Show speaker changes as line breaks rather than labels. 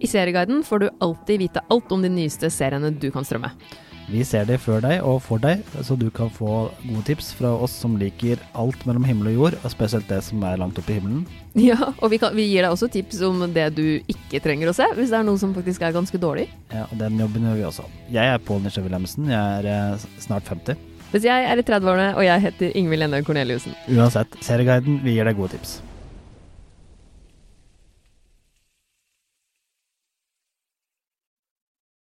I Serieguiden får du alltid vite alt om de nyeste seriene du kan strømme.
Vi ser det før deg og for deg, så du kan få gode tips fra oss som liker alt mellom himmel og jord, og spesielt det som er langt oppe i himmelen.
Ja, og vi, kan, vi gir deg også tips om det du ikke trenger å se, hvis det er noe som faktisk er ganske dårlig.
Ja, og den jobben gjør vi også. Jeg er Pål Nisje Wilhelmsen, jeg er eh, snart 50.
Mens jeg er i 30-årene, og jeg heter Ingvild Enne Corneliussen.
Uansett, Serieguiden, vi gir deg gode tips.